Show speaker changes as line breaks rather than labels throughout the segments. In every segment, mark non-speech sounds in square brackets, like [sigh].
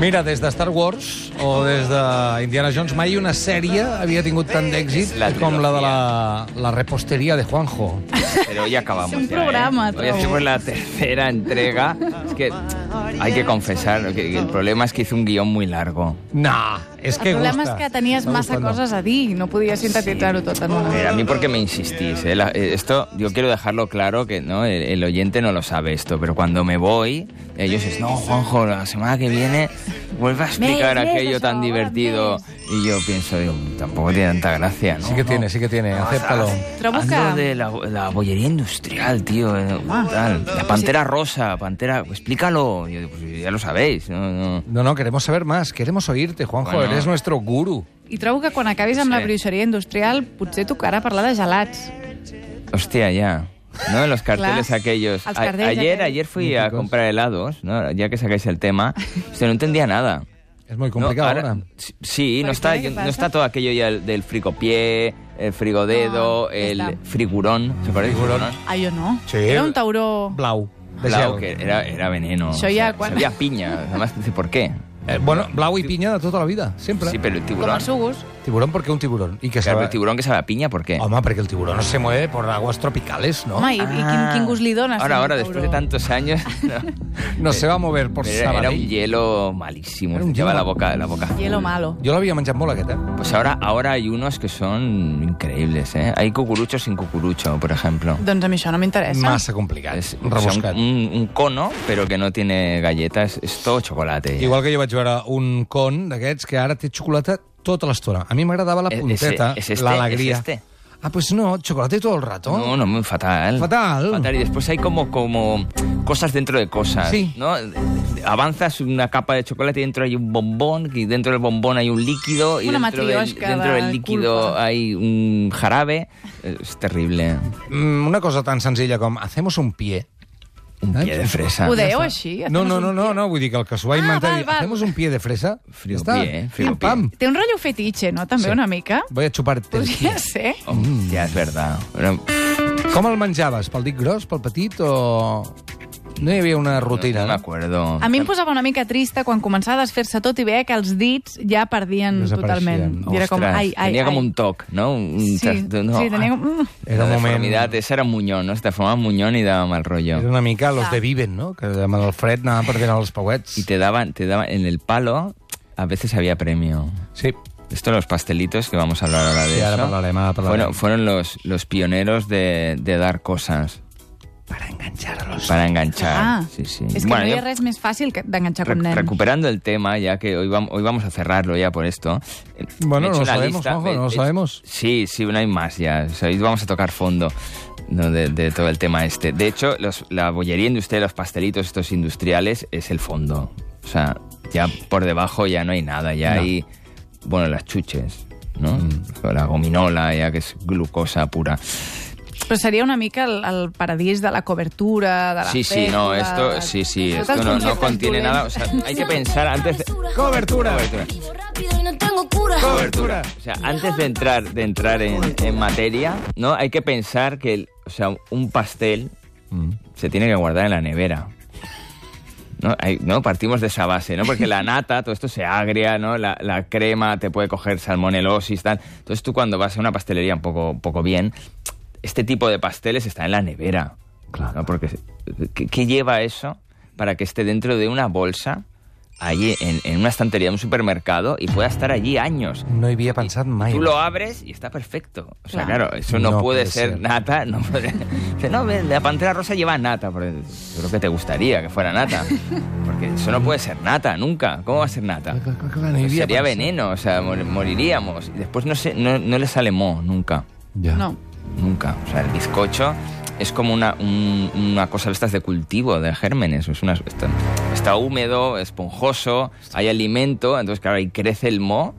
Mira, des de Star Wars o des de Indiana Jones mai una sèrie havia tingut tant d'èxit
La
com la de la, la repostería de Juanjo.
Pero hoy acabamos.
Es un
ya, ¿eh?
programa,
Hoy
todo.
hacemos la tercera entrega. Es que hay que confesar que que el problema es que hice un guión muy largo.
Nah, és que
El problema
gusta.
és que tenies
Està
massa
gustant.
coses a dir i no podies sintetitzar-ho tot en una.
Eh, a mí porque me insistís. eh, la- eh, esto yo quiero dejarlo claro que no el, el oyente no lo sabe esto, pero cuando me voy ellos dicen, no Juanjo la semana que viene vuelve a explicar
Ves, ves,
aquello
por
tan
favor,
divertido y yo pienso digo, tampoco tiene tanta gracia, ¿no?
Sí que tiene, sí que tiene, acéptalo.
Trobo
Hazlo
que-
de la, la bollería industrial, tío. eh,
Ah.
tal. La pantera rosa, pantera. Explícalo. Yo digo, pues ya lo sabéis. No, no.
No, no, queremos saber más, queremos oírte, Juanjo,
Bueno.
eres nuestro guru.
I trobo que quan acabis amb
Sí.
la bruixeria industrial potser tocarà parlar de gelats.
Hostia, ya. ¿No?
[laughs]
Los carteles
Claro.
aquellos.
Los
A-
carteles
ayer,
aquellos.
ayer fui a
Míticos.
comprar helados, ¿no? ya que sacáis el
[laughs]
tema. O sea, no entendía nada.
Es muy
No,
complicado
ahora-
ahora.
s- Sí,
¿Por
no está,
Pues, qué? ¿Qué
no
pasa?
está todo aquello ya del, del fricopié, el frigodedo,
Ah, ya
el
está.
frigurón. ¿Se parece? Frigurón.
Ah, jo no.
Sí.
Era un tauró...
Blau. De
Claro,
gel.
que era, era veneno.
Eso ya
O sea,
cuando-
sabía a piña. Además, dice, ¿por qué?
Eh, bueno, blau i pinya de tota la vida, sempre.
Sí, pero el
Com
tiburón.
els sugus.
Tiburón perquè un tiburón. I que
Claro,
sabe...
pero el tiburón que sabe a piña, ¿por qué?
Home, perquè el tiburón se mueve por aguas tropicales, ¿no?
Home, i, i quin, quin gust li dones?
Ah. Ahora,
a un
ahora, después de
tauró?
tantos años. [laughs] no.
No se va a mover por
Pero era, era un
Sabadell.
hielo malísimo.
Era un
te lleva
hielo.
la boca, la boca.
Hielo malo.
Jo l'havia menjat molt, aquest, eh?
Pues ahora, ahora hay unos que son increíbles, ¿eh? Hay cucurucho sin cucurucho, por ejemplo.
Doncs a mi això no m'interessa.
Massa complicat,
Es o sea,
rebuscat.
un, un- un cono, pero que no tiene galletas, es todo chocolate.
Igual que jo vaig veure un con d'aquests que ara té xocolata tota l'estona. A mi m'agradava la
Eh,
punteta,
ese- es este,
l'alegria.
es este.
Ah, pues no, chocolate todo el rato.
No, no, muy fatal.
Fatal.
Fatal. Y después hay como, como cosas dentro de cosas.
Sí.
¿no? Avanzas una capa de chocolate y dentro hay un bombón, y dentro del bombón hay un líquido, y
Una
dentro del,
matrioshka
dentro
de
del líquido
culpa.
hay un jarabe. Es terrible.
Mm, Una cosa tan senzilla com hacemos un pie.
Un
Eh?
pie de fresa.
Ho deieu així?
No,
Hacemos
no,
un
no, no, no, vull dir que el que s'ho va
Ah,
inventar...
val,
dir,
val.
Hacemos un pie de fresa.
Frío
Ja està.
pie, eh? Frío
Pim, pam.
Té un rotllo fetitxe, no? També
Sí.
una mica.
Voy a chuparte el pie.
Podria ser.
Oh, Ya es verdad. Bueno,
Com el menjaves? Pel dit gros, pel petit o...? No hi havia una rutina,
no me
no?
acuerdo.
A mi em posava una mica trista quan començava a desfer-se tot i veia que els dits ja perdien
Desapareixien.
totalment. I era com,
Ostras,
ai, ai,
tenía
ai.
como un toc, ¿no? Un-
Sí,
no,
sí, tenia
ah.
com... Mm.
Era un
la
moment...
deformidad, esa era Muñón, ¿no? Se deformaba Muñón y daba mal rollo.
Era una mica los de Viven, no? Que amb el fred anaven perdent els pauets.
Y te daban, te daban en el palo, a veces había premio.
Sí.
Esto, los pastelitos, que vamos a hablar ahora de
Sí, ahora
eso,
hablaremos, ahora hablaremos.
Fueron, fueron los, los pioneros de, de dar cosas
Para engancharlos.
para enganchar.
Ah,
sí, sí.
és que
Bueno,
no hi
yo-
ha res més fàcil que d'enganxar
Re-
com nen.
recuperando el tema, ya que hoy vamos, hoy vamos a cerrarlo ya por esto. eh,
Bueno,
he hecho
no lo
una
sabemos, Juanjo,
me-
no lo
he hecho-
sabemos.
Sí, sí, no hay más ya. O sea, hoy vamos a tocar fondo ¿no? de, de todo el tema este. De hecho, los- la bollería industrial, los pastelitos estos industriales, es el fondo. O sea, ya por debajo ya no hay nada, ya hay, bueno, las chuches, ¿no?
Mm.
O La gominola, ya que es glucosa pura.
Però seria una mica el, el paradís de la cobertura, de la
Sí, sí, no,
festa,
esto,
de-
sí, sí,
Tot
esto no,
els
no
conceptes
contiene
dolents.
nada. O sea, hay que pensar antes de...
Cobertura.
Cobertura.
rápido y no tengo cura.
Cobertura.
O sea, antes de entrar, de entrar en, en materia, ¿no? Hay que pensar que el- o sea, un pastel se tiene que guardar en la nevera. ¿No? Hay- ¿no? Partimos de esa base, ¿no? Porque la nata, todo esto se agria, ¿no? La, la crema te puede coger salmonelosis, tal. Entonces tú cuando vas a una pastelería un poco, un poco bien, este tipo de pasteles está en la nevera. Claro. Porque, ¿qué, qué lleva eso para que esté dentro de una bolsa, allí en, en una estantería de un supermercado y pueda estar allí años?
No hi havia pensat mai.
Tú lo abres y está perfecto. O sea,
Claro.
claro, eso no,
No
puede,
puede
ser,
ser.
nata. No, puede... [laughs] Dice, no, ve, la pantera rosa lleva nata. Pero yo creo que te gustaría que fuera nata. Porque eso no puede ser nata, nunca. ¿Cómo va a ser nata?
Clar, clar, clar, no hi
Pues
havia
sería
pensat.
veneno, o sea, mor- moriríamos. Y después no, sé, no, no le sale mo, nunca.
Ja.
No.
Nunca. O sea, el bizcocho es como una, un- una cosa de estas de cultivo, de gérmenes. Es una, está, está húmedo, esponjoso, hay alimento, entonces claro, ahí crece el mo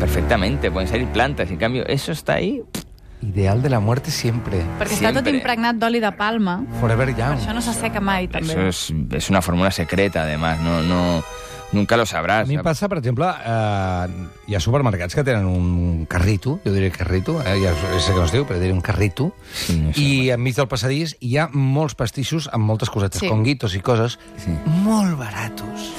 perfectamente, pueden salir plantas. En cambio, eso está ahí.
Ideal de la muerte siempre.
Perquè està tot
Sempre.
impregnat d'oli de palma.
Forever
Per
young.
això no s'asseca mai, també.
Eso es, es una fórmula secreta, además. No, no, nunca
A
lo sabrás.
mi em passa, per exemple, eh, hi ha supermercats que tenen un carrito, jo diré carrito, eh, ja sé que no es diu, però diré un carrito,
Sí, no sé.
i enmig del passadís hi ha molts pastissos amb moltes cosetes,
Sí.
conguitos i coses,
Sí.
molt baratos.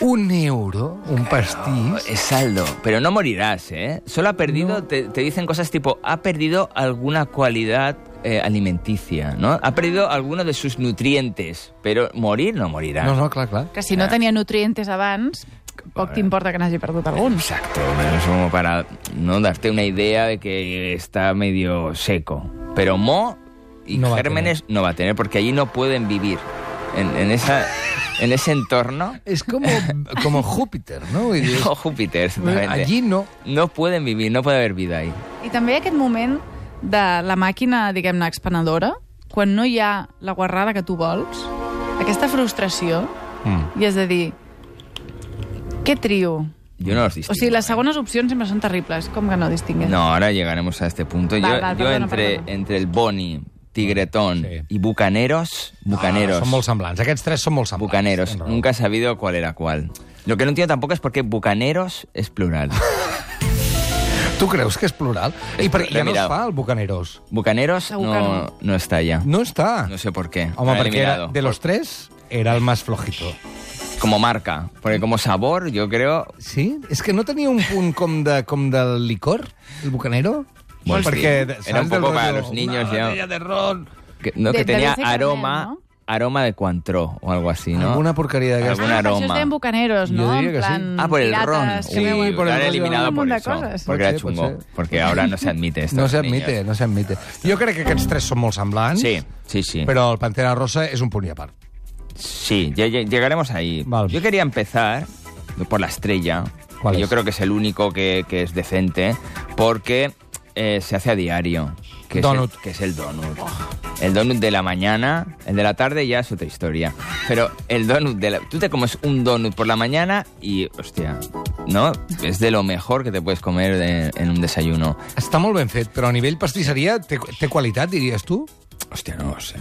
un euro, un pastís...
Es saldo, pero no morirás, ¿eh? Solo ha perdido, te, te dicen cosas tipo, ha perdido alguna cualidad eh, alimenticia, ¿no? Ha perdido alguno de sus nutrientes, pero morir no morirá.
No, no, clar, clar.
Que si no tenia nutrientes abans, poc t'importa que n'hagi perdut algun.
Exacto, menos como para no darte una idea de que está medio seco. Pero mo y
No va a
gérmenes no va a tener, porque allí no pueden vivir. En, en esa, en
[laughs]
ese entorno,
És com, com Júpiter, no? Vull
[laughs]
dir,
o Júpiter, exactamente.
allí no. Ah,
No pueden vivir, no puede haber vida ahí.
I també aquest moment de la màquina, diguem-ne, expenedora, quan no hi ha la guarrada que tu vols, aquesta frustració,
Mm.
i és de dir, què trio?
Yo no los distingo.
O sigui, les
¿eh?
segones opcions sempre són terribles, com que no distingues? Ah,
No, ahora llegaremos a este punto.
Va,
yo
va,
yo
perdona,
entre,
perdona.
entre el Boni, Tigretón
Sí. Ah,
y Bucaneros, Bucaneros,
Són molt semblants. Aquests tres són molt semblants.
Bucaneros,
Tens raó.
nunca he sabido cuál era cuál. Lo que no entiendo tampoco es por qué Bucaneros es
[laughs]
plural.
Tu creus que és plural? I per,
L'he
ja no es
mirat.
fa, el Bucaneros.
Bucaneros
La Bucano.
no, no está ya.
No està.
No sé por qué.
Home,
Lo han
perquè era,
eliminado.
de los tres era el más flojito.
Como marca. Porque como sabor, yo creo...
Sí? És que no tenia un punt com, de, com del licor, el bucanero?
Bueno, sí.
perquè,
Era
saps,
un poco
del
para
rotllo,
los niños,
Una
ya.
botella de ron.
Que, no,
De-
que tenía
debe ser caramel,
aroma...
¿no?
Aroma de cuantró o algo así, ¿no?
Alguna porqueria
Ah,
d'aquesta.
Algun
però això
aroma.
es deien bucaneros,
Jo
no?
diria
En
que sí.
plan,
Ah, por el
pirates,
ron.
que
Uy,
Sí,
veuen-
por el
lo han
rollo.
eliminado
Un
por
munt de
eso.
coses.
Porque
Pot
era
ser, pot
chungo.
ser.
Porque ahora no se admite esto.
No s'admite, no s'admite. Jo crec que aquests tres són molt semblants,
Sí, sí, sí.
però el Pantera Rosa és un punt i a part.
Sí, lle- lle- llegaremos ahí.
Vale.
Yo quería empezar por la estrella.
¿Cuál
que Yo
es?
creo que es el único que, que es decente, porque eh, se hace a diario. Que
Donut.
Es el, que es el donut. El donut de la mañana, el de la tarde ya es otra historia. Pero el donut de la... Tú te comes un donut por la mañana y, hostia, ¿no? Es de lo mejor que te puedes comer de- en un desayuno.
Està molt ben fet, però a nivell pastisseria té, té qualitat, diries tu?
Hostia, no lo sé.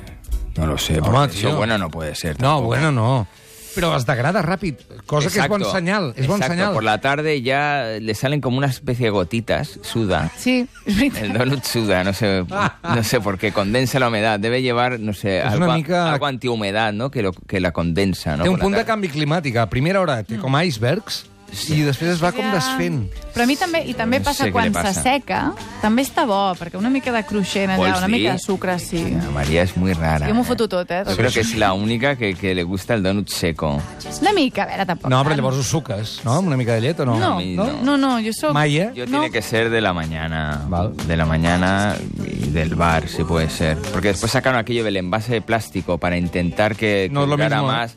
No lo sé.
Toma,
porque eso
tío.
bueno no puede ser.
No,
tampoco.
bueno, no. Però es degrada ràpid, cosa que és
Exacto,
bon senyal. És bon
exacto,
senyal.
Por la tarde ya le salen como una especie de gotitas, suda.
Sí, és veritat.
El donut suda, no sé, no sé por qué, condensa la humedad. Debe llevar, no sé,
Es
algo,
una mica-
algo antihumedad, ¿no? Que, lo, que la condensa, ¿no?
Té un
Por la
punt de
tarde.
canvi climàtic. A primera hora té com icebergs i després es va com
Ja.
desfent.
Però a mi també, i també
No
passa
sé què
quan
li passa.
s'asseca, també està bo, perquè una mica de cruixent allà,
Vols
una
dir?
mica de sucre, sí.
Pues Ana María es muy rara.
Jo m'ho
¿eh?
foto tot, eh?
Yo creo que es la única que, que le gusta el donut seco.
Una mica, a veure, tampoc.
No, però
tant.
llavors ho suques, no? Amb una mica de llet o no?
No,
A mi
no, no, no jo sóc...
Mai, eh?
Yo
No.
tiene que ser de la mañana.
Val.
De la mañana y del bar, si puede ser. Porque después sacaron aquello del envase de plástico para intentar que,
No es lo
colgara
mismo, ¿eh?
más.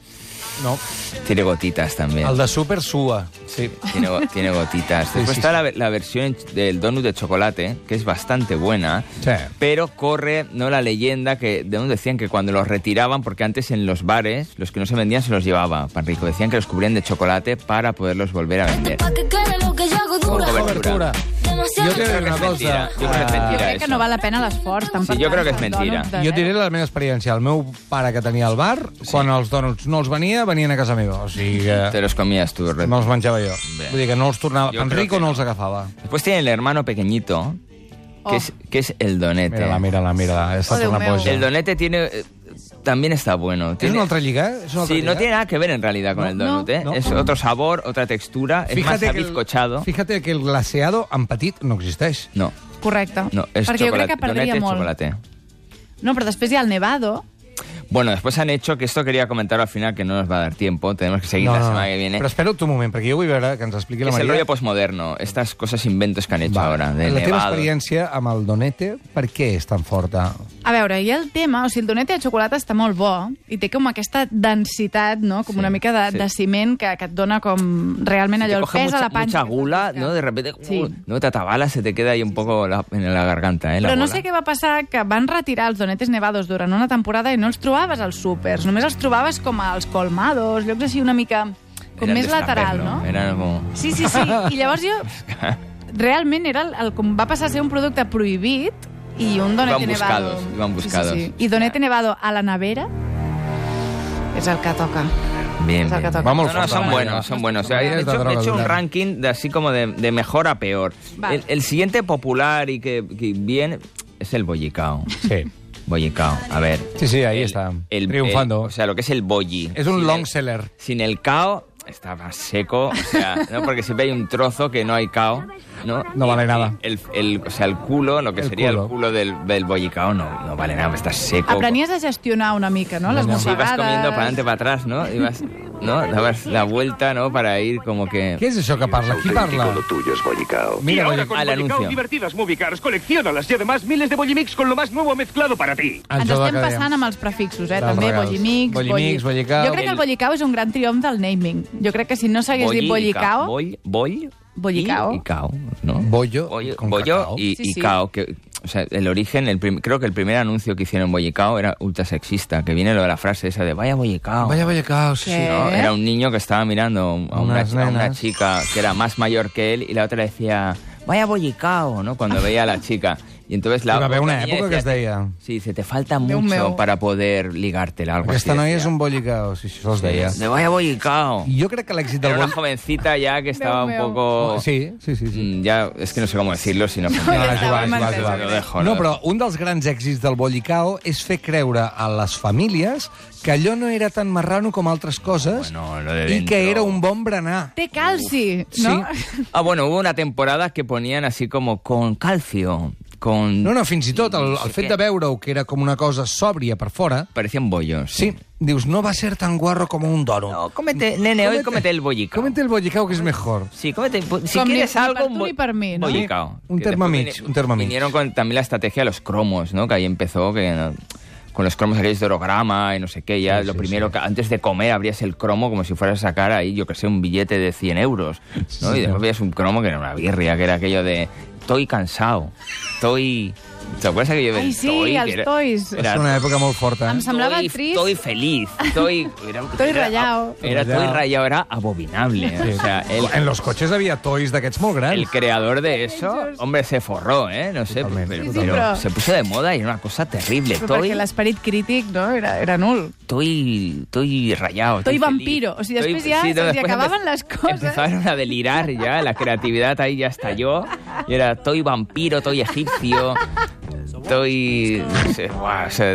No.
Tiene gotitas también.
El de súper sua. Sí.
Tiene, go- tiene gotitas.
Sí,
Después
sí,
está
sí.
la, ve- la versión en- del donut de chocolate, que es bastante buena,
Sí.
pero corre no la leyenda que de donde decían que cuando los retiraban, porque antes en los bares los que no se vendían se los llevaba pan rico, decían que los cubrían de chocolate para poderlos volver a vender.
Pa' que quede lo que yo hago dura.
Joder.
Cobertura.
Demasiado
Jo te diré una
Yo creo que és
cosa.
mentira. Jo crec que és
Jo
mentira.
crec que
això.
no val la pena l'esforç. tant
Sí,
per
jo crec
tant,
que és
els
mentira.
dònuts
Eh,
de
Jo
zero.
diré la meva experiència. El meu pare que tenia el bar, quan els dònuts no els venia, venien a casa meva. O sigui
Te
que
los comías tú. re-
me'ls menjava jo.
Bé.
Vull dir que no els tornava...
Jo
Jo
crec
Enrico
que
no
no.
els agafava.
Después tiene el hermano pequeñito, que,
Oh.
es, que es el donete.
Mira-la, mira-la, mira-la. Ha estat
Déu
una
meu.
boja.
El donete tiene... eh, También está bueno.
És
Tiene-
una altra lliga, eh? És una altra
Sí,
lliga.
no tiene nada que ver en realidad con
No,
el donut,
no,
¿eh?
no.
Es otro sabor, otra textura, es más
que el-
bizcochado.
Fíjate que el glaseado en petit no existeix.
No,
Correcte.
no, es
Perquè jo crec
chocolate.
que perdria
donete,
molt.
chocolate.
No, pero después ya al nevado.
Bueno, después han hecho, que esto quería comentar al final, que no nos va a dar tiempo, tenemos que seguir la semana que viene.
Però espera un moment, perquè jo vull veure que ens expliqui
que
la
es el
Maria.
rollo postmoderno, estas cosas inventos que han hecho ahora, de
la teva
nevado.
experiència amb el Donete, per què és tan forta?
A veure, i el tema, o sigui, el donete de xocolata està molt bo i té com aquesta densitat, no? Com
Sí,
una mica de,
sí.
de ciment que, que et dona com realment
Te
allò, el
coge
pes
mucha,
a la panxa.
mucha gula,
que-
¿no? De repente,
Sí.
uh, no te atabala, se te queda ahí un poco la- en la garganta, ¿eh? La
Però no
bola.
sé què va passar, que van retirar els donetes nevados durant una temporada i no els trobaves als súpers, només els trobaves com als colmados, llocs així una mica com
Eran
més
de
lateral,
Snapper,
no?
Eran como...
Sí, sí, sí. I llavors jo... Realment era el, el, com va passar a ser un producte prohibit i un donete
Iban
nevado.
buscados, iban buscados.
Sí, sí, sí. I donete nevado a la nevera és el que toca.
Bien, bien,
O sea, que toca.
bien.
Vamos,
No, no, son
vamos.
buenos, son buenos. O sea,
Vamos.
he hecho, he hecho un
Vamos.
ranking de así como de, de mejor a peor.
Vale.
El, el siguiente popular y que, que bien es el bollicao.
Sí,
Bollicao, a ver.
sí, sí ahí
El-
está,
el-
triunfando.
el- o sea, lo que es el bolli.
és un
Sin
long
el-
seller.
Sin el cao estaba seco, o
[laughs]
sea, ¿no? porque siempre hay un trozo que no hay cao, ¿no?
No vale nada.
El, el- o sea, el culo, lo que
El
sería
culo.
el culo del, del bollicao, no, no vale nada, está seco.
Aprenies a gestionar una mica, no? Les
Sí, vas
Sí, vas
mossegades...
comiendo para adelante, para atrás, ¿no? Y vas, ¿no? Dabas la vuelta, ¿no? Para ir como que...
Què és això que parla? Qui parla?
Lo tuyo es Boyicao.
Y
Mira,
ahora
Bollicao,
con
al
Bollicao,
anuncio.
divertidas movie cars, colecciónalas y además miles de Bollimix con lo más nuevo mezclado para ti.
Ens
joc
estem
que dèiem.
passant amb els prefixos, eh?
Dels
També
regals.
Bollimix,
Bollimix,
Bolli-
Bollicao.
Jo crec que el Bollicao és un gran triomf del naming. Jo crec que si no s'hagués dit Bollicao...
Boll, boll
Bollicao.
Y, y cao, ¿no?
Bollo
Bollo,
con
bollo
cacao.
y,
Sí,
y
sí.
cao. Que, o sea, el origen, el prim- creo que el primer anuncio que hicieron Bollicao era ultra sexista, que viene lo de la frase esa de vaya Bollicao.
Vaya, vaya, caos.
Què?
Sí.
¿no? Era un niño que estaba mirando a una,
Unas
chi- a una
nenas.
chica que era más mayor que él y la otra le decía, vaya bollicao, ¿no? Cuando veía a la chica. Y entonces la
Hi va haver
otra
una
niña
època que es
decía,
deia...
Sí, dice, te falta
Déu
mucho
meu.
para poder ligártela. Algo
Aquesta
así
noia
decía.
és un bollicao, si això es deia.
De vaya bollicao.
Jo crec que l'èxit
Era
del
una
bollicao...
jovencita ya que estaba un
meu.
poco...
Sí, sí, sí. sí.
Mm, Ya, es que no sé cómo decirlo, si no...
[laughs]
funciona.
ja està,
Joan,
ho
Joan,
hem entès,
Joan.
ho
Lo
hem
dejo,
No,
lo
però un dels grans èxits del Bollicao és fer creure a les famílies que allò no era tan marrano com altres coses
Bueno, lo de
i
dentro.
que era un bon berenar.
Té calci, no?
Ah, bueno, hubo una temporada que ponían así como con calcio, con...
No, no, fins i tot el, el fet
què.
de veure-ho, que era com una cosa sòbria per fora,
Parecían bollos.
sí, dius, no va ser tan guarro com un doro.
No, cómete, nene, hoy cómete el bollicao.
Cómete el Bollicao, que és mejor.
Sí, cómete. po- Si
Con
quieres
ni- ni
algo.
para
un
tú
bo-
ni para mí, ¿no?
bollicao.
Un
Que después
Thermomix,
vine-
un Thermomix.
Vinieron con también la estrategia de los cromos, ¿no? Que ahí empezó que. no, Con los cromos aquellos de orograma y no sé qué, ya
Sí,
lo
sí,
primero que antes de comer abrías el cromo como si fueras a sacar ahí, yo que sé, un billete de 100 euros, ¿no? y después veías un cromo que era una birria, que era aquello de estoy cansado, estoy... ¿Te acuerdas aquello del
Ay, sí,
toy? Que
al
era-
És
toys.
era
una època molt forta.
Em
Eh?
semblava
Estoy-
trist.
Estoy feliz.
[laughs]
Estoy, era,
Estoy
era-
rayado.
Era, estoy
Rayado.
rayado, era abominable. O sea, el,
En los cotxes havia toys d'aquests molt grans.
el creador de eso, hombre, se forró, ¿eh? No sé,
Totalmente,
pero,
Sí, sí,
pero
pero-
se puso de moda y era una cosa terrible.
Però
Estoy,
[laughs] perquè l'esperit crític no? era, era nul.
estoy, estoy rayado.
Estoy
feliz.
vampiro. O sea,
Estoy-
después ya se te
después empe-
acababan las cosas.
Empezaron a delirar ya, la creatividad ahí ya estalló. Y era, estoy vampiro, estoy egipcio, estoy... no sé, buah, o sea,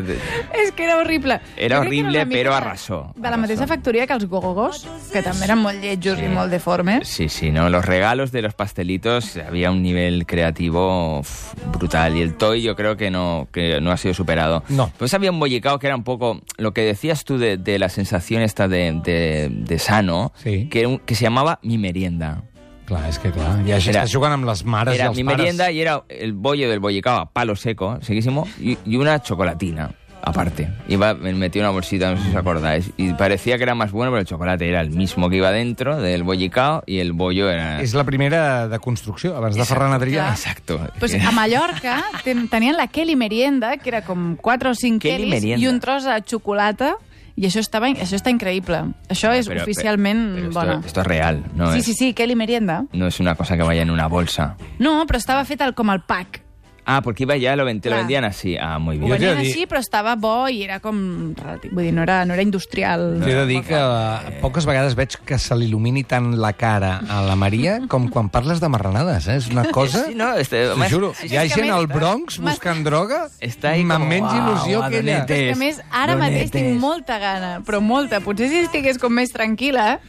És que era horrible.
Era
Jo crec que
horrible,
una mica
però
de-
arrasó.
De la
Arrasó.
mateixa factoria que els gogogos, que també eren molt lletjos i molt deformes.
Sí, sí, no. Los regalos de los pastelitos había un nivel creativo uf, brutal. Y el toy yo creo que no, que no ha sido superado.
No.
Pues había un bollicao que era un poco lo que decías tú de, de la sensación esta de, de- de sano,
Sí.
que, era un- que se llamaba mi merienda.
Clar, és que clar, i així
Era-
estàs jugant amb les mares i
Era
els
mi
pares.
merienda y era el bollo del bollicao a palo seco, seguísimo, y, y una chocolatina. Aparte, iba, me metí una bolsita, no sé si os acordáis, y parecía que era más bueno, pero el chocolate era el mismo que iba dentro del bollicao y el bollo era...
És la primera de construcció, abans de Ferran Adrià.
Exacto. [laughs]
Pues a Mallorca ten- tenien la Kelly Merienda, que era com 4 o 5
Kelly
Kellys
Merienda.
i un tros de xocolata, i això, estava, això està increïble. Això és
Pero-
oficialment
pero esto,
bona.
Esto es real, no,
sí,
es,
sí, sí, Kelly Merienda.
no es una cosa que vaya en una bolsa.
No, però estava fet el, com el pack.
Ah, porque iba ya, lo, ven- te lo
Claro.
vendían así. Ah, muy
Ho
Jo
bien.
t'he de
venien
dir-
així, però estava bo i era com... relati- Vull dir, no era, no era industrial.
T'he de dir que eh, poques vegades veig que se l'il·lumini tant la cara a la Maria com quan parles de marranades, eh? És una cosa...
Sí, no, este,
T'ho
más-
juro,
sí,
hi ha
és que
gent
a més-
al Bronx buscant droga,
Està ahí
m'en
com,
menys
"Uau,
il·lusió que ella...
adonetes".
Que a més, ara mateix tinc molta gana, però molta. Potser si estigués com més tranquil·la...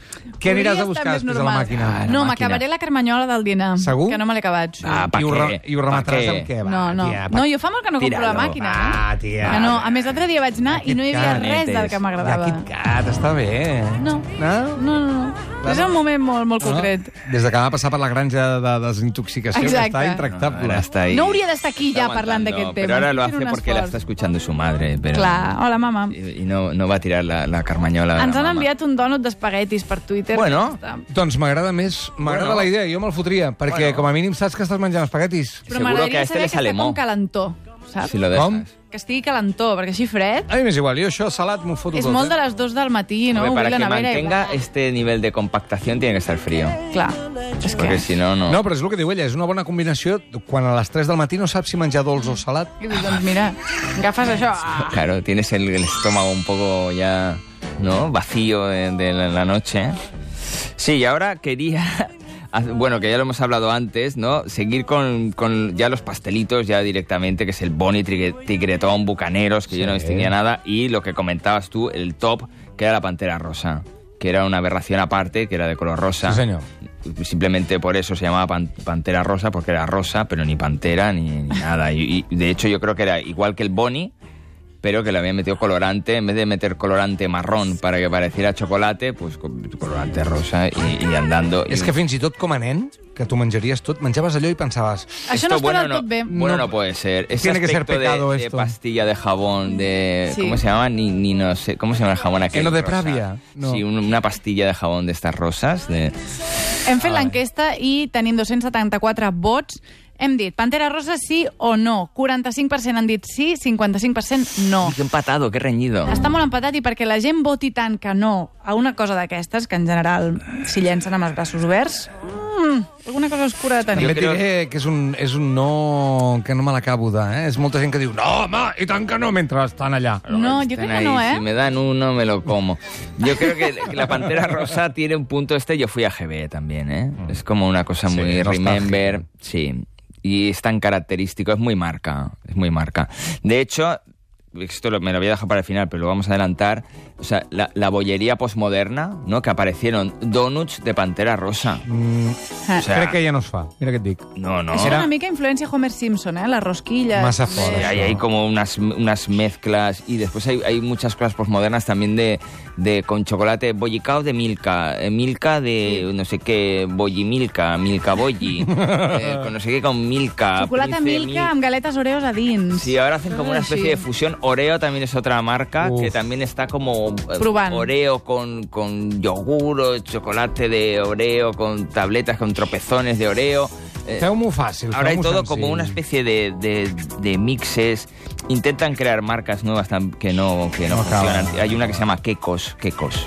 Què
podria
aniràs a
estar
buscar
més
després a la
normal.
màquina? Ah,
la
No,
màquina.
m'acabaré la carmanyola del dinar.
Segur?
Que no me l'he acabat. Sí.
Ah, pa
I ho, re-
què?
I ho
Pa
remataràs
què?
amb què? Va,
no, no.
Tia,
no, jo fa molt que no compro la
Tíralo.
màquina.
Ah,
eh?
tia.
Que no. A més, l'altre dia vaig anar i no hi havia
Kit
Kat.
res del que
Ja,
m'agradava.
Kit Kat, està bé.
No.
No?
No, no, no. És un moment molt, molt concret.
Des de que va passar per la granja de desintoxicació, que
Exacte.
està
Ahora
intractable.
está ahí.
No hauria d'estar aquí
Está
ja parlant
aguantando,
d'aquest tema.
Pero ahora lo
Fent un
hace porque la
esforç.
está escuchando su madre. Pero,
Clar, hola, mama.
Y, y no, no va a tirar la, la carmañola. de la
Ens han
mamá.
enviat un dònut d'espaguetis per Twitter.
Bueno.
Està-
Doncs m'agrada més, m'agrada
Bueno.
la idea, jo me'l fotria, perquè
Bueno.
com a mínim saps que estàs menjant espaguetis.
Però
Seguro que a
m'agradaria
este
saber
le
que està
sale mo.
com calentó, saps?
Si lo dejas.
Com?
Que estigui calentó, perquè així fred...
A mi m'és igual, jo això salat m'ho foto
És
tot.
molt
eh?
de les 2 del matí, no?
Hombre,
Obrir
para
la
que
nevera i-
mantenga este nivel de compactación tiene que estar frío.
Clar, és que...
Porque si no, no.
No, però és el que diu ella, és una bona combinació quan a les 3 del matí no saps si menjar dolç o salat.
I dius, Doncs mira, agafes [laughs] això... Ah,
Claro, tienes el, el estómago un poco ya, ¿no? Vacío de, de la, la noche. Sí, y ahora quería, [laughs] haz- bueno, que ya lo hemos hablado antes, ¿no? Seguir con, con ya los pastelitos, ya directamente, que es el Boni, Trigue- Tigretón, Bucaneros, que yo no distinguía nada, y lo que comentabas tú, el top, que era la Pantera Rosa. que era una aberración aparte, que era de color rosa.
Sí, señor.
Simplemente por eso se llamaba pan- Pantera Rosa, porque era rosa, pero ni pantera ni, ni nada. Y, y, de hecho yo creo que era igual que el Bonnie, pero que le habían metido colorante, en vez de meter colorante marrón para que pareciera chocolate, pues co- colorante rosa y, y andando.
És
Y-
que fins i tot com a nen, que tu menjaries tot, menjaves allò i pensaves...
Això no
Esto
es bueno,
bueno,
tot bé.
Bueno, no,
No.
puede ser. Ese
Tiene que ser
aspecto de-
pecado
de,
esto.
pastilla de jabón, de...
Sí.
¿Cómo se llama? Ni, ni no sé. ¿Cómo se llama el jabón aquel?
Eh, no, de
rosa?
Pravia, no.
Sí, un- una pastilla de jabón de estas rosas. De...
Hem fet l'enquesta i tenim 274 vots. Hem dit Pantera Rosa sí o no. 45% han dit sí, 55% no.
Uy, qué empatado, qué reñido.
Està molt empatat i perquè la gent voti tant que no a una cosa d'aquestes, que en general s'hi llencen amb els braços oberts, mm, alguna cosa oscura de tenir.
També
Jo
et
crec-
diré que és un, és un no que no me l'acabo de... Eh? És molta gent que diu, no, home, i tant que no, mentre estan allà.
No, jo
Están
crec que
ahí,
no,
Si
eh?
me dan uno, me lo como. Yo creo que la Pantera Rosa tiene un punto este. Yo fui a GB también, ¿eh? Es como una cosa
Mm. Sí,
muy
nostálgico.
remember. Sí. Y es tan característico. Es muy marca. Es muy marca. De hecho, esto lo- me lo voy a dejar para el final, pero lo vamos a adelantar. O sea, la, la bollería posmoderna, ¿no? Que aparecieron donuts de Pantera Rosa.
Ah.
O sea,
Crec Mm. que ja no es fa, mira què et dic.
no, no.
Això era una mica influència Homer Simpson, eh? Les rosquilles...
Ah. Massa
de-
fort.
Sí, hay, hay
Eso.
como unas, unas mezclas y después hay, hay muchas cosas posmodernas también de, de con chocolate bollicao de Milka, eh, Milka de no sé qué, bolli Milka,
[laughs]
Milka bolli, eh, con no sé qué con Milka.
Xocolata
Prince
Milka amb galetes Oreos a dins.
Sí, ahora hacen como una
Ah,
especie
sí.
de fusión. Oreo también es otra marca
Uf.
que también está como eh,
Proban.
Oreo con, con yogur, o chocolate de Oreo, con tabletas, con tropezones de Oreo. Eh,
Feu-m'ho fàcil,
Ahora hay
feu-m'ho
todo
senzill.
como una especie de, de- de mixes. Intentan crear marcas nuevas tam- que no, que no,
No acaba.
funcionan. Hay una que se llama Kekos. Kekos.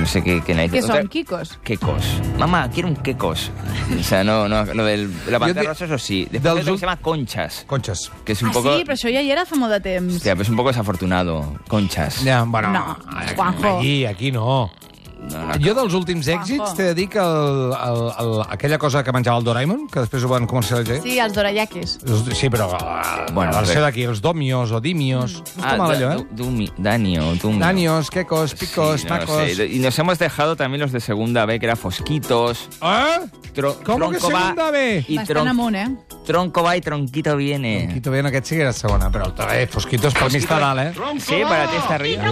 No sé qué, qué narices.
Que
Otra-
són quicos.
Quecos. Mamá, quiero un quecos. O sea, no, no, lo del, la
Yo
pantalla
te-
rosa, eso sí. Después
del
hay otro
zu-
que se llama conchas,
Conxes.
que es un
ah,
poco...
sí? Però això ja hi era fa molt de temps.
Hostia, pero es un poco desafortunado. Conchas.
Ja, bueno,
No, Juanjo.
Allí, aquí no.
No, no.
Jo dels últims èxits t'he de dir que el, el, el, aquella cosa que menjava el Doraemon, que després ho van comercialitzar...
Sí, els dorayakis.
Els- Sí, però ah,
Bueno,
bueno, la versió
bé.
d'aquí, els Domios o Dimios... Mm. Està mal allò,
Ah, da-
eh?
du- dumi- Danio, Dumio.
Danios, quecos,
Sí,
picos,
no
tacos...
sé. Y nos hemos dejado también los de segunda B, que era Fosquitos,
Eh?
tro-
¿Cómo que
Tronco va
segunda B?
Y
Bastant
tron-
amunt, eh?
Tronco va y tronquito viene.
Quito bé, en aquest sí que era segona, però eh, Fosquitos per mi està dalt, eh?
Sí, para ti está arriba.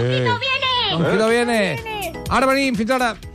Quito viene! Ara venim, fins ara!